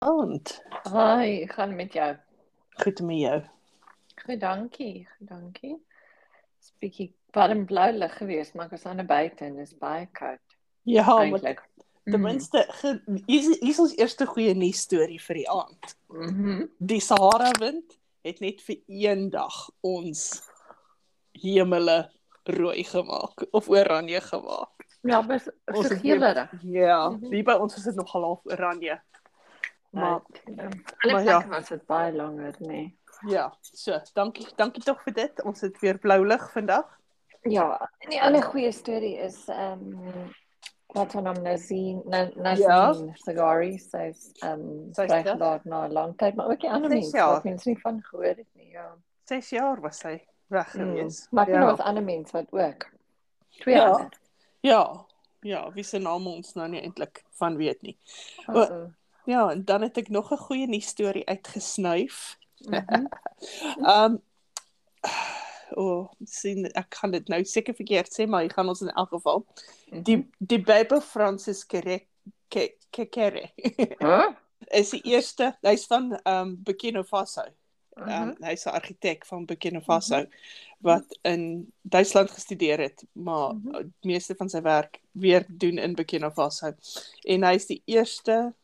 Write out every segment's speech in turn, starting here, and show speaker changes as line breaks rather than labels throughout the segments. Goeienaand.
Hi, gaan met jou.
Goed met jou.
Goed, dankie, goed, dankie. Dis bietjie warm blou lig geweest, maar ek was aan die buite en dis baie koud
Ja, maar
eintlik. Mhm,
ten minste ge- hier is hier is ons eerste goeie nuus storie vir die aand.
Mhm.
Die Sahara wind het net vir een dag ons hemele rooi gemaak of oranje gemaak.
Ja, maar so
Ons het
geelerig.
Ja,
Mhm.
hier by ons is dit nog half oranje. Maar
alle
maar ja.
plekke was dit baie langer, nê. Nee.
ja, so, dankie dankie tog vir dit. Ons het weer blou lig vandag.
Ja, en die ander goeie storie is ehm um, wat van hom Nazin
Ja.
Nazin Sagari sê ehm um,
Sy is terug.
daar na 'n lang tyd, maar ook die ander
Ses
mense
jaar.
wat mens nie van gehoor het nie. Ja.
6 jaar was sy weg
Mm.
gewees.
Maar ek
ja.
ja. was ander mense wat ook. Twee
Ja.
ander.
ja. Ja, wie se naam ons nou nie eintlik van weet nie. O,
Uh-uh.
Ja, en dan het ek nog 'n goeie nuus storie uitgesnyf.
Mhm.
Um o, oh, sien ek kan dit nou seker verkeerd sê, maar hy gaan ons in elk geval
Mhm.
die die Bybel Francis Kerek Ke- Kekere
Huh?
is die eerste. Hy's van um Burkina Faso. Um,
Mhm.
hy's 'n argitek van Burkina Faso wat in Duitsland gestudeer het, maar
Mhm.
die meeste van sy werk weer doen in Burkina Faso. En hy's die eerste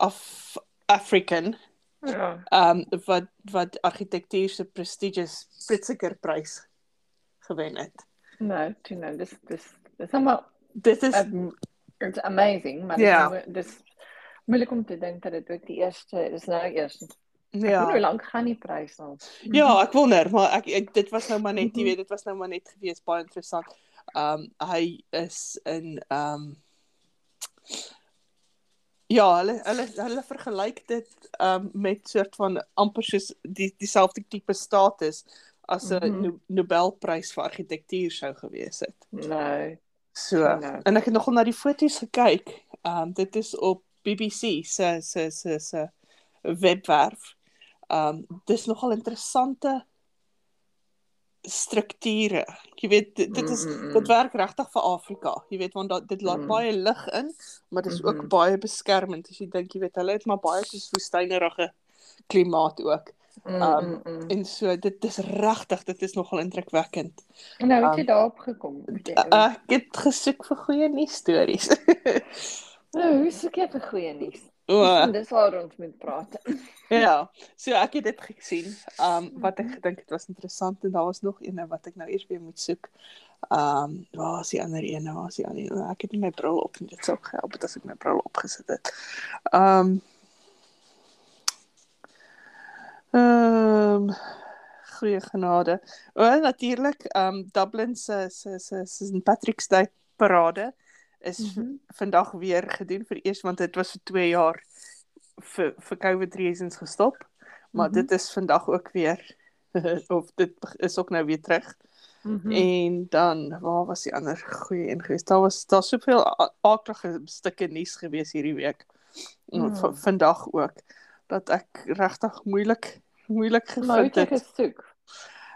af African
Ja.
um wat wat argitektuur se prestigious Pritzker prys gewen het.
Nou, toe nou, dis dis dis sommer
Dit is
um, it's amazing, maar
Ja.
yeah. dis, dis moeilik om te dink dat dit ook die eerste dis nou eers. Ja. Hoe
ja.
lank gaan die prys al?
Ja, ek wonder, maar ek, ek dit was nou maar net, jy
Mhm.
weet, dit was nou maar net gewees baie interessant. Um hy is in um Ja, hulle hulle hulle vergelyk dit um met soort van amper soos die dieselfde tipe status as 'n mm
Mhm.
-hmm. no Nobelprys vir argitektuur sou gewees het.
Nou,
So,
Nou.
en ek het nogal na die foto's gekyk. Um dit is op BBC se se se se webwerf. Um dis nogal interessante strukture. Jy weet dit, dit is
Mm, mm, mm.
dit werk regtig vir Afrika. Jy weet want dat, dit laat
Mm.
mm. baie lig in, maar dis mm -hmm.
Mhm.
ook baie beskermend as jy dink jy weet hulle het maar baie soos woestynerige klimaat ook.
mm,
um,
mm, mm.
En so dit dis regtig dit is nogal indrukwekkend.
en nou het
um,
jy daarop gekom.
Uh, ek het gesoek vir goeie nuus stories.
Nou, hoe soek jy vir goeie nuus?
O, uh,
En dis waar ons moet praat.
ja, so ek het dit gesien. Um wat ek gedink het was interessant en daar was nog eene wat ek nou eers weer moet soek. Um waar is die ander een? Waar is die ander een? Ah, Ek het nie my bril op nie. Dit sou gehelp het as ek my bril opgesit het. Um Ehm um, goeie genade. O, natuurlik, um Dublin se se se se St Patrick's Day parade is mm -hmm.
Mhm.
vandag weer gedoen vir eers want dit was vir 2 jaar vir vir COVID reasons gestop. Maar mm
Mhm.
-hmm. dit is vandag ook weer of dit is ook nou weer terug.
Mhm.
Mm. En dan, waar was die ander goeie een gewees? Daar was daar soveel a- aaklige stukke nuus gewees hierdie week. Mm.
Mm.
Vandag ook dat ek regtig moeilik moeilik
Maar hoe
gevind
het jy
het.
gesoek?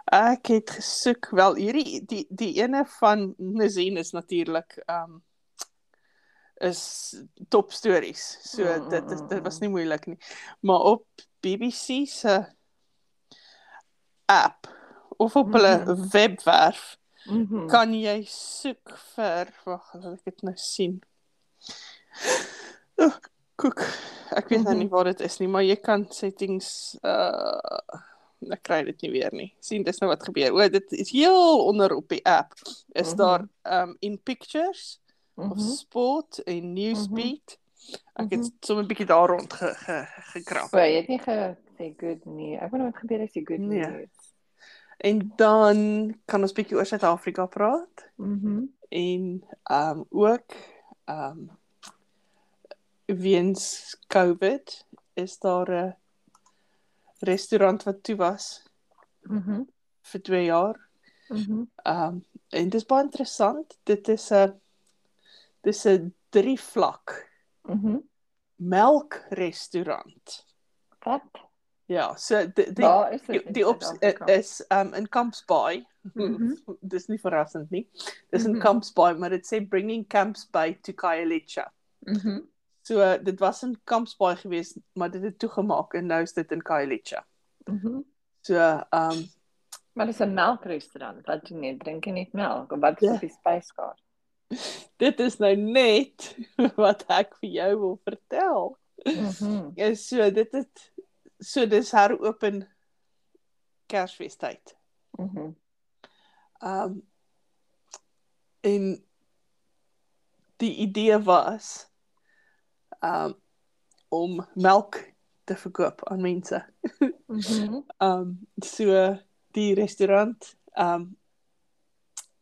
Ek het gesoek wel hierdie die die ene van Nazin is natuurlik um is top stories. So
Mm, mm,
dit is
mm,
dit
mm.
was nie moeilik nie. Maar op BBC se app of op hulle webwerf
Mhm.
kan jy soek vir wag, laat ek dit nou sien. O, Kyk, ek weet nou nie waar dit is nie, maar jy kan settings uh ek kry dit nie weer nie. sien dis nou wat gebeur. O, dit is heel onder op die app. Is
Mhm.
daar um in pictures of
Mhm.
sport en newsbeat. Ek het
Mhm.
sommer 'n bietjie daar rond ge, ge, gekrap.
O, jy het nie gesê good nie. Ek nou wonder wat gebeur as jy good
Nee.
nee. news.
En dan kan ons bietjie oor Suid-Afrika praat
Mhm.
en ehm um, ook ehm um, weens COVID is daar 'n restaurant wat toe was
Mhm.
vir 2 jaar.
Mhm.
Ehm um, en dit is baie interessant. Dit is 'n dis 'n drie vlak
Mhm.
melkrestaurant.
Wat?
Ja, so die die,
Daar is
die,
dit.
die opsie is um in Camps Bay.
Mhm.
Dis nie verrassend nie. Dis in
Mhm.
Camps Bay, maar dit sê bringing Camps Bay to Khayelitsha.
Mhm.
So uh, dit was in Kampsbaai geweest, maar dit het toegemaak en nou is dit in Khayelitsha.
Mhm.
So ehm um,
Maar dis 'n melkrestaurant. Wat doen jy? Drink jy net melk of wat is
Ja.
op die spyskaart?
dit is nou net wat ek vir jou wil vertel.
Mhm.
Ja, so dit het so dis heropen Kersfeestyd.
Mhm.
Ehm um, en die idee was ehm um, om melk te verkoop aan mense.
Mhm.
Ehm um, so die restaurant ehm um,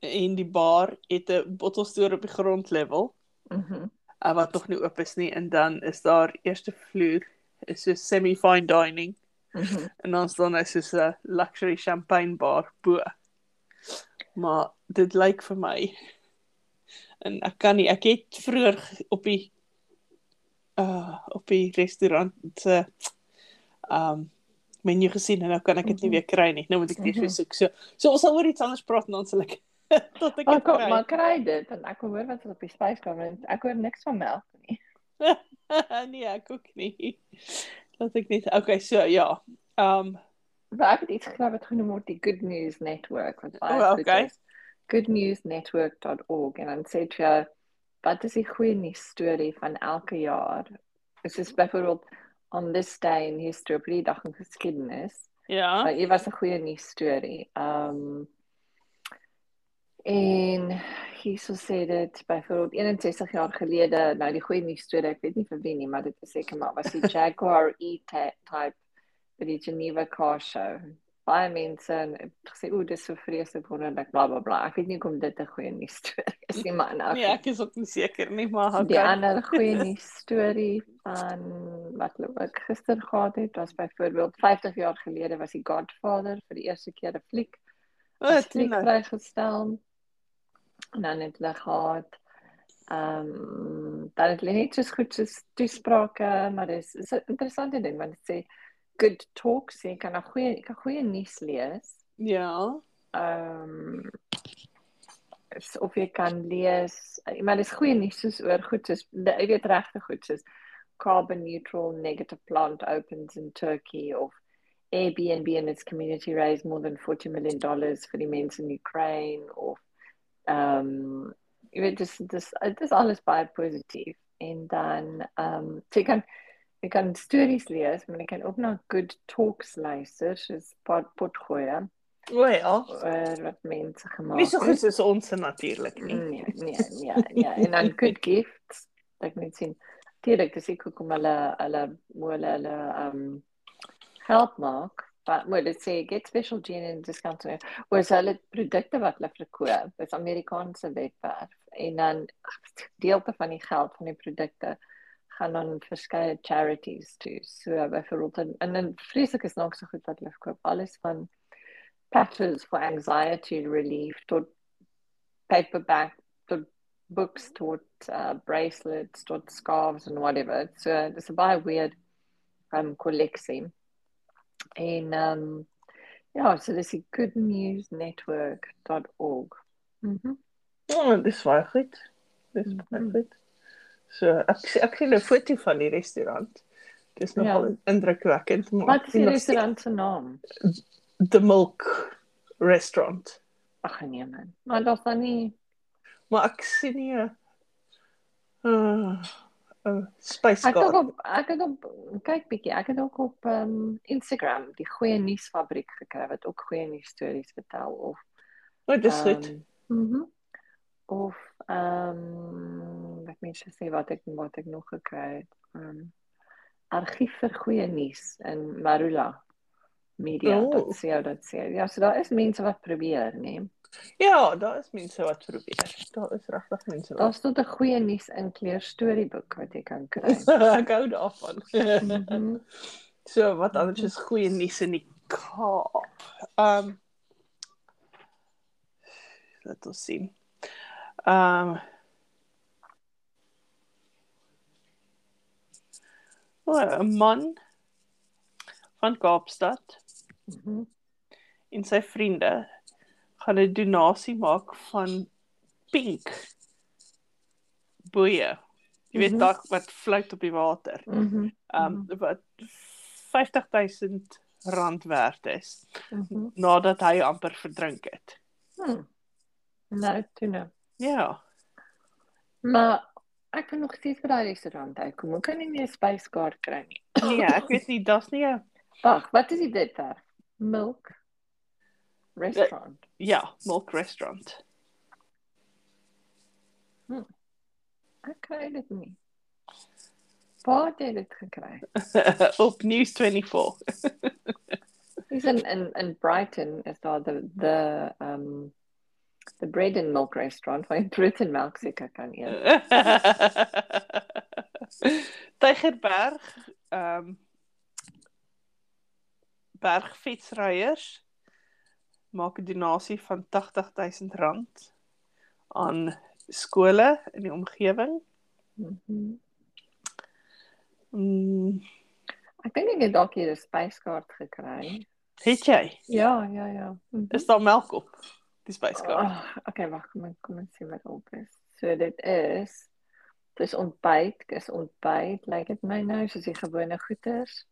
en die bar het 'n bottelstoer op die grondlevel
Mhm.
uh, wat nog nie oop is nie en dan is daar eerste vloer is so semi fine dining
Mhm.
en dan staan hy soos 'n luxury champagne bar bo. Maar dit lyk vir my en ek kan nie ek het vroeër ge- op die uh op die restaurant se um menu gesien en nou kan ek dit nie weer kry nie. Nou moet ek dit weer
Mhm.
soek. So so ons sal oor iets anders praat en dan sal ek tot ek
Maar
dit
kom,
kry.
maar kry dit want ek hoor wat is op die spyskaart en ek hoor niks van melk nie.
nee, ek ook nie. Laat ek net. Okay, so ja. Um
Maar ek het iets gekry wat genoem word die Good News Network wat baie
O,
goed
okay.
is. goodnewsnetwork.org en dan sê dit vir jou wat is die goeie nuus storie van elke jaar? Dit is byvoorbeeld on this day in history, op die dag in geskiedenis.
ja.
Maar dit was 'n goeie nuus storie. Um en hierso sê dit byvoorbeeld 61 jaar gelede, nou die goeie nuus storie, ek weet nie vir wie nie, maar dit is seker maar was die Jaguar E-type by die Geneva Car Show. Baie mense en het gesê o, dis so vreeslik wonderlik bla bla bla. Ek weet nie hoekom dit 'n goeie nuus storie is nie, maar nou.
Nee, ek is ook nie seker nie, maar
Die
okay.
ander goeie nuus storie van wat hulle ook gister gehad het, was byvoorbeeld 50 jaar gelede was die Godfather vir die eerste keer 'n fliek
O,
as fliek
Tina.
vrygestel. En dan het hulle gehad ehm um, dan het hulle net soos goed soos toesprake, maar dis is 'n interessante ding want dit sê good talks, jy kan 'n goeie jy kan goeie nuus lees.
Ja.
Ehm um, is of jy kan lees. eh, Maar dis goeie nuus soos oor goed soos de- jy weet regte goed soos carbon neutral negative plant opens in Turkey of Airbnb and its community raised more than 40 million dollars vir die mense in Ukraine of ehm um, jy weet dis dis dit is alles baie positief en dan ehm um, so jy kan jy kan stories lees maar jy kan ook na good talks luister soos pot potgoeie
O ja.
oor wat mense gemaak
Nie so
het.
goed soos ons natuurlik nie.
Nee, nee, Mm, ja, ja, en dan good gifts. Ek net sien. Direk dis ek hoekom hulle hulle hoe hulle hulle um help maak. Maar moet dit sê get special gene en discount rate. Oor so hulle produkte wat hulle verkoop, is Amerikaanse webwerf en dan gedeelte van die geld van die produkte gaan dan verskeie charities toe. So byvoorbeeld en- en dan vreeslik is nog so goed wat hulle verkoop. Alles van patches for anxiety relief tot paperback tot books tot uh, bracelets tot scarves and whatever. uh, So dis 'n baie weird um kolleksie. En um ja, so dis die goodnewsnetwork.org. Mhm.
O, dis baie goed. Dis baie
Mhm.
goed. So ek sien- ek sien 'n foto van die restaurant. Dis nogal
Ja.
indrukwekkend. maar
Wat
ek
is
sien
die
nog steeds
restaurant se naam?
The Milk Restaurant.
Ag nee man. Maar daar's dan nie
Maar ek sien nie 'n uh, uh,
Ek het
spyskaart.
ook op ek het op kyk bietjie. Ek het ook op um Instagram die Goeie Nuus Fabriek gekry wat ook goeie nuus stories vertel of
O, dis goed.
Ehm, mhm. Of ehm wat mense sê wat ek wat ek nog gekry het. Ehm argief vir goeie nuus in Marula media.
Oh.
Dit sê dat sê. Ja, so daar is mense wat probeer, né? Nee.
Ja, daar is mense wat probeer. Daar is regtig mense wat.
Daar's tot 'n goeie nuus in kleur storieboek wat jy kan kry.
ek hou daarvan.
Mhm.
So wat anders is goeie nuus in die Kaap. Ehm um, Laat ons sien. Ehm um, O, 'n man van Kaapstad
Mhm.
en sy vriende gaan 'n donasie maak van pink boeie Jy weet
Mhm.
dalk wat float op die water. Ehm um, wat 50000 rand werd is
Mhm.
nadat hy amper verdrink het.
Nou, toe nou.
Ja.
Maar ek kan nog steeds by daai restaurant uitkom. Ek kan nie meer spyskaart kry nie.
Nee, ek weet nie, daar's nie 'n
Wag, wat is dit dit daar? Milk restaurant.
ja, milk restaurant.
Ek kry dit nie. Waar het jy dit gekry?
op News 24.
Dis in in in Brighton is daar the the um the bread and milk restaurant waar jy brood en melk seker kan eet.
Tygerberg, ehm um, bergfietsryers maak 'n donasie van R80000 aan skole in die omgewing.
Mhm.
Mm,
Ek dink ek het dalk hier 'n spyskaart gekry.
het jy?
Ja, ja, ja. Mhm.
Is daar melk op die spyskaart?
Ag, Oh, okay, wag, kom ek kom ek sien wat op is. So dit is dis ontbyt, is ontbyt, lyk like dit my nou soos die gewone goeders.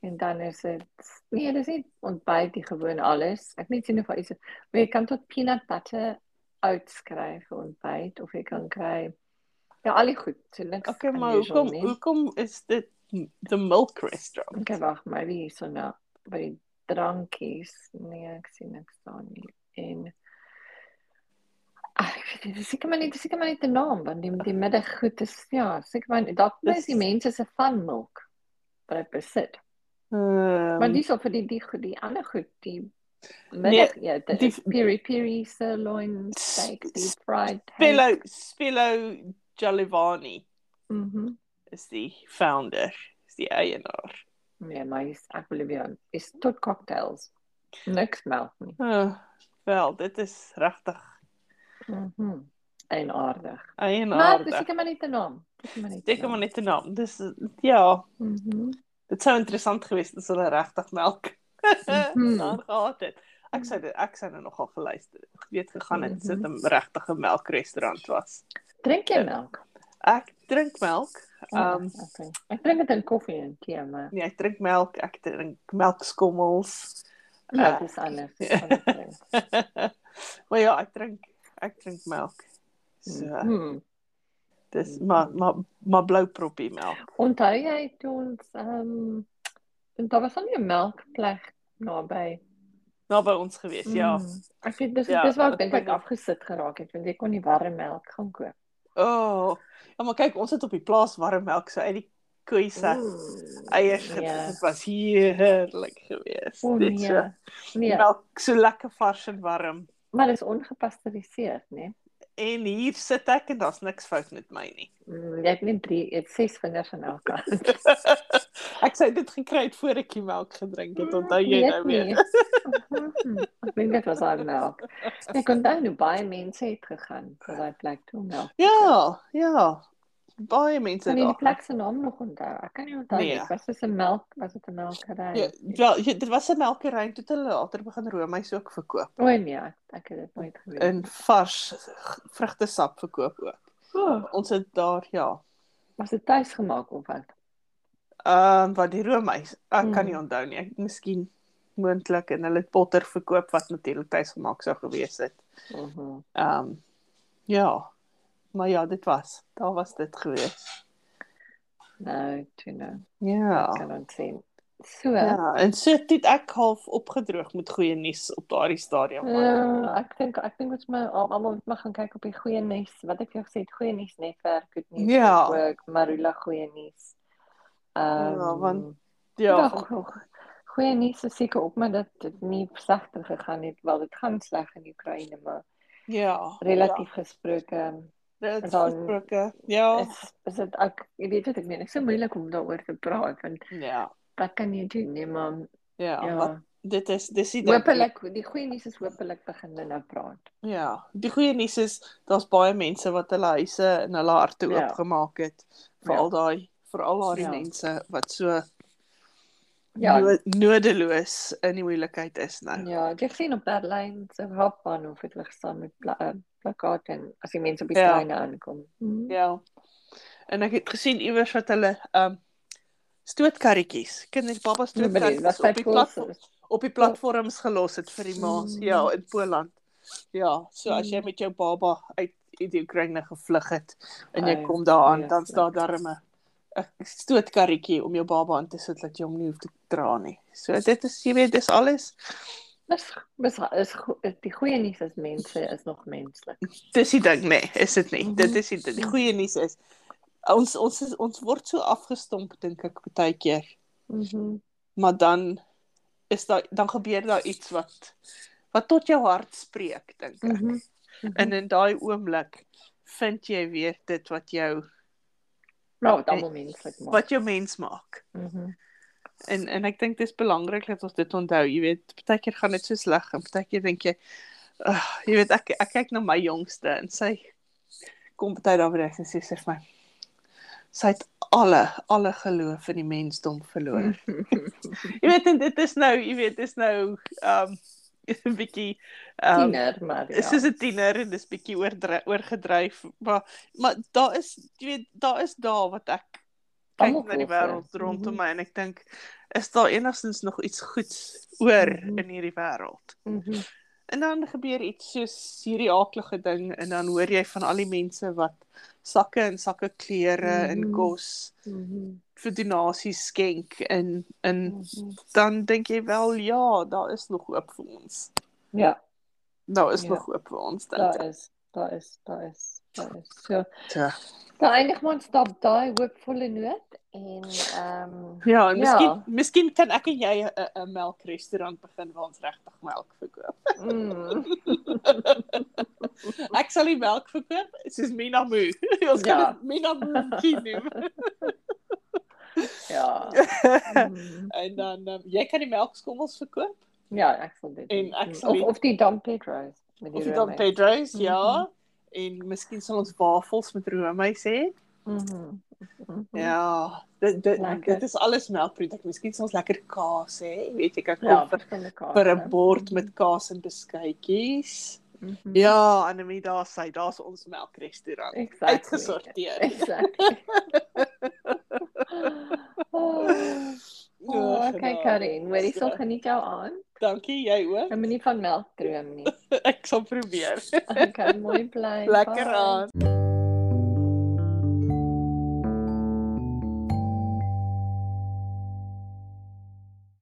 En dan is dit nee, dis nie ontbyt die gewone alles. Ek net sien of daar iets is. Maar jy kan tot peanut butter uitskryf vir ontbyt of jy kan kry ja, al die goed. So niks.
Okay, maar
unusual
hoekom
nie.
hoekom is dit the milk restaurant?
Okay, wag, maybe hierso nou by die drankies. Nee, ek sien niks daar nie. En Ag, ek weet nie, dis seker maar net, dis seker maar net 'n naam, want die die middaggoed is ja, seker maar dalk
Dis-
is die mense se van milk wat dit besit.
Um, Nee,
Maar dis op vir die die goed, die ander goed, die middag ja, dit
die-
is piri piri sirloin steak, die fried
Spillo Spillo Jalivani
Mhm.
is die founder, is die eienaar.
Nee, maar is ek wil weer is tot cocktails. Niks melk nie.
Uh, wel, dit is regtig
Mhm. En aardig. Maar dis
eienaar.
seker maar net 'n naam. Dis maar net. 'n
Dit kom maar
naam.
net te naam. Dis ja,
Mhm.
dit sou interessant gewees het as hulle regtig melk
Mhm.
daar gehad het. Ek sou dit ek sou nou nogal geluister het. Weet gegaan het dit
Mhm.
'n regtige melkrestaurant was.
Drink jy melk?
Ek drink melk.
Oh,
Ehm um,
okay. Ek drink dit in koffie en tee, maar
nee, ek drink melk, ek drink melkskommels.
ja, dis anders. dis
ja.
ander drink.
maar ja, ek drink ek drink melk. So,
Mhm.
dis maar maar maar blou proppie melk.
Onthou jy toe ons ehm en daar was al 'n melkplek naby.
Naby ons gewees, ja.
Mhm. Ek weet dis
Ja,
dis waar
ek
ek dink
dink
ek
dit-
afgesit geraak het want jy kon nie warm melk gaan koop.
O. Oh, ja, maar kyk, ons het op die plaas warm melk so uit die koei se
Mm.
eiers gedrink.
Ja.
Dit was heerlik geweest.
O,
Net so.
nee.
Ja.
Nee,
Melk so lekker vars en warm.
maar dis ongepasteuriseerd, né?
En hier sit ek en daar's niks fout met my nie.
Mm, Jy het net 3, jy het 6 vingers aan elke kant.
ek sou dit gekry het voor ek die melk gedrink
Mm,
het. Onthou jy nou weer.
Mhm. Ek dink dit was al melk. Ek onthou nou baie mense het gegaan vir daai plek toe om melk.
Ja, ja. Baie mense
Kan jy die
daar.
plek se naam nog onthou? Ek kan nie onthou
Nee.
nie. Dit was so 'n melk, was dit 'n melkery?
Ja, wel, ja, dit was 'n melkery en toe het hulle later begin roomys ook verkoop
O nee, ek- ek het dit nooit geweet.
en vars vrugtesap verkoop ook.
Oh,
Ons het daar ja.
was dit tuis gemaak of wat?
Ehm wat die roomys, ek kan nie
Hmm.
onthou nie. Ek miskien moontlik en hulle het botter verkoop wat natuurlik tuisgemaak sou gewees het.
Mhm.
Ehm um, ja. Maar ja, dit was. Daar was dit gewees.
Nou, toe nou.
Ja.
Kan ons sien. So. Ja.
Ja, en so het ek half opgedroog met goeie nuus op daardie stadium. maar-
Uh, ek dink ek dink ons moet al- almal moet maar gaan kyk op die goeie nuus wat ek vir jou gesê het goeie nuus netwerk goed nuus
Ja.
ook Marula goeie nuus. Ehm
Ja, want-
Ja,
Ja,
go- go- goeie nuus is seker ook maar dat dit nie slegter gegaan het wel dit gaan sleg in die Oekraïne maar
ja.
relatief ja. gesproke
Dit is
Dan-
gesproke. Ja.
is is dit ek jy weet wat ek meen ek so moeilik om daaroor te praat want
Ja.
wat kan jy doen nee maar
Ja,
ja,
wat dit is dis die ding.
hopelik die goeie nuus is hopelik begin hulle nou praat
Ja, die goeie nuus is daar's baie mense wat hulle huise en hulle harte
Ja.
oopgemaak het vir al daai vir al daai
Ja.
mense wat so
ja
no nodeloos in die moeilikheid is nou.
ja het jy gesien op Berlyn se hoofbaan of eh, dit gestaan met pla eh, plakate en as die mense op die
Ja.
treine aankom
Ja. en ek het gesien iewers wat hulle um stootkarretjies, kinders baba
Nobody's
stootkarretjies op die platform op die platforms gelos het vir die maas,
Mm.
ja, in Poland. Ja, so as jy
Mm.
met jou baba uit uit die Oekraïne gevlug het en jy
Ai,
kom daaraan,
yes,
dan staan
niks.
daar 'n 'n stootkarretjie om jou baba in te sit dat jy hom nie hoef te dra nie. So dit is jy weet, dis alles.
Dis dis is go- die goeie nuus is mense is nog menslik.
Dis die ding, nee, is dit nie.
Mhm.
Dit is die, die goeie nuus is ons ons is, ons word so afgestomp dink ek baie keer.
Mhm.
maar dan is daar dan gebeur daar iets wat wat tot jou hart spreek dink ek. Mm -hmm.
Mhm.
En in daai oomblik vind jy weer dit wat jou
Nou, wat almal menslik maak.
eh, wat jou mens maak.
Mhm.
En en ek dink dis belangrik dat ons dit onthou. Jy weet, baie keer gaan dit so sleg en baie keer dink jy uh, jy weet ek ek kyk na my jongste en sy kom baie daar weer en sy sê vir my sy het alle alle geloof in die mensdom verloor. Mm. Jy weet en dit is nou, jy weet, dis nou um 'n bietjie um
Tiener, maar ja.
is soos 'n tiener en dis bietjie oordry- oorgedryf, maar maar daar is jy weet, daar is daar wat ek
Almal
kyk na die
voel vir.
wêreld rondom
Mhm.
my en ek dink is daar enigstens nog iets goeds oor
Mhm.
in hierdie wêreld.
Mhm.
En dan gebeur iets soos hierdie aaklige ding en dan hoor jy van al die mense wat sakke en sakke klere en
Mhm.
kos
Mhm.
vir donasies skenk en in
Mhm.
dan dink jy wel ja, daar is nog hoop vir ons.
Ja,
Daar is
Ja.
ja. nog hoop vir ons dink
daar
ek.
is daar is daar is daar is. So,
Ja.
dan eindig ons daar daai hoopvolle noot en ehm um,
Ja, en
Ja.
miskien ja. miskien kan ek en jy 'n- 'n melkrestaurant begin waar ons regtig melk verkoop.
mm,
Ek sal die melk verkoop soos Mina Moo. Ons kan
Ja.
ja. Mina Moo kie noem.
ja. Mm.
en dan um, jy kan die melkskommels verkoop
Ja, ek sal dit.
En
doen.
ek sal
of
die-
of die Dom Pedro's met die
of dan Pedro's,
Mhm.
ja. En miskien sal ons wafels met roomys hê.
Mhm. Ja.
Ja, dit dit,
Lekker.
dit is alles melkprodukte. Miskien sal ons lekker kaas hê. Jy weet jy kan koop
Ja,
vir
verskillende kaarte.
vir 'n bord met kaas en beskuitjies.
Mhm.
Ja, Anemie, daar sy, daar's ons melkrestaurant.
exactly.
Uitgesorteer.
Exactly. oh,
Ja,
oh, kyk Karin, hoorie sal geniet jou aan.
Dankie jy ook.
Ek moenie van melk droom nie.
Ek sal probeer.
Ek kan mooi bly.
Lekker
Bye.
aan.